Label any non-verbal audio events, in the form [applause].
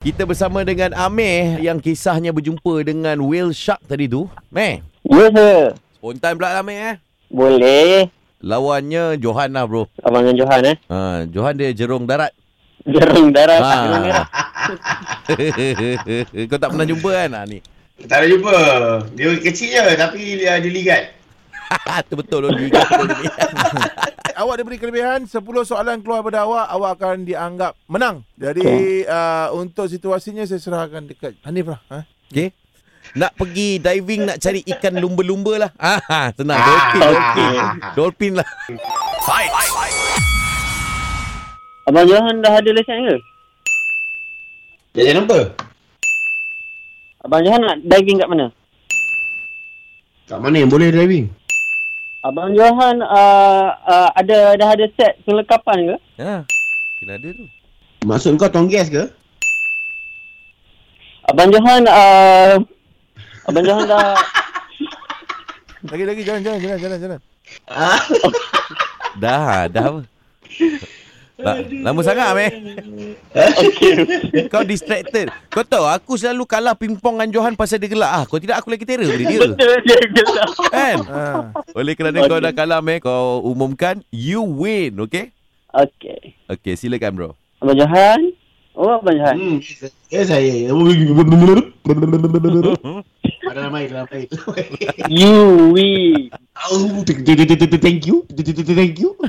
Kita bersama dengan Amir yang kisahnya berjumpa dengan whale shark tadi tu. Meh, Ya, sir. spontan pula lah Amir eh. Boleh. Lawannya Johan lah bro. Abang dengan Johan, eh. Ha, Johan dia jerung darat. Jerung darat. Ha. Ha. [laughs] Kau tak pernah jumpa kan ha, ni? [laughs] Tak ada jumpa. Dia kecil je tapi dia, dia ligat. Itu betul loh. Dia jumpa ni. Awak diberi kelebihan 10 soalan keluar pada awak Awak akan dianggap menang Jadi okay. uh, untuk situasinya saya serahkan dekat Hanif lah ha? Okay. Nak pergi diving nak cari ikan lumba-lumba lah. [laughs] Ah, senang. Dolphin. Dolphin. Ah. Dolphin lah. Abang Johan dah ada lesen ke? Jajan apa? Abang Johan nak diving kat mana? Kat mana yang boleh driving? Abang Johan uh, uh, ada dah ada set kelengkapan ke? Ha. Kena ada tu. Maksud kau tong gas ke? Abang Johan uh, Abang Johan dah Lagi lagi jalan jalan jalan jalan jalan Ah. Dah, ha, dah apa? La- lama sangat meh. Kau distracted. Kau tahu aku selalu kalah pingpong dengan Johan pasal dia gelak. Ah, kau tidak aku lagi terror pada dia. betul [laughs] dia gelap. Kan? ha. Oleh kerana kau dah kalah meh, kau umumkan you win, okay? Okey. Okay, silakan bro. Abang Johan. Oh, Abang Johan. Hmm. Ya saya. Ada nama air, dalam [laughs] air. You we. Oh, Thank you. Thank you.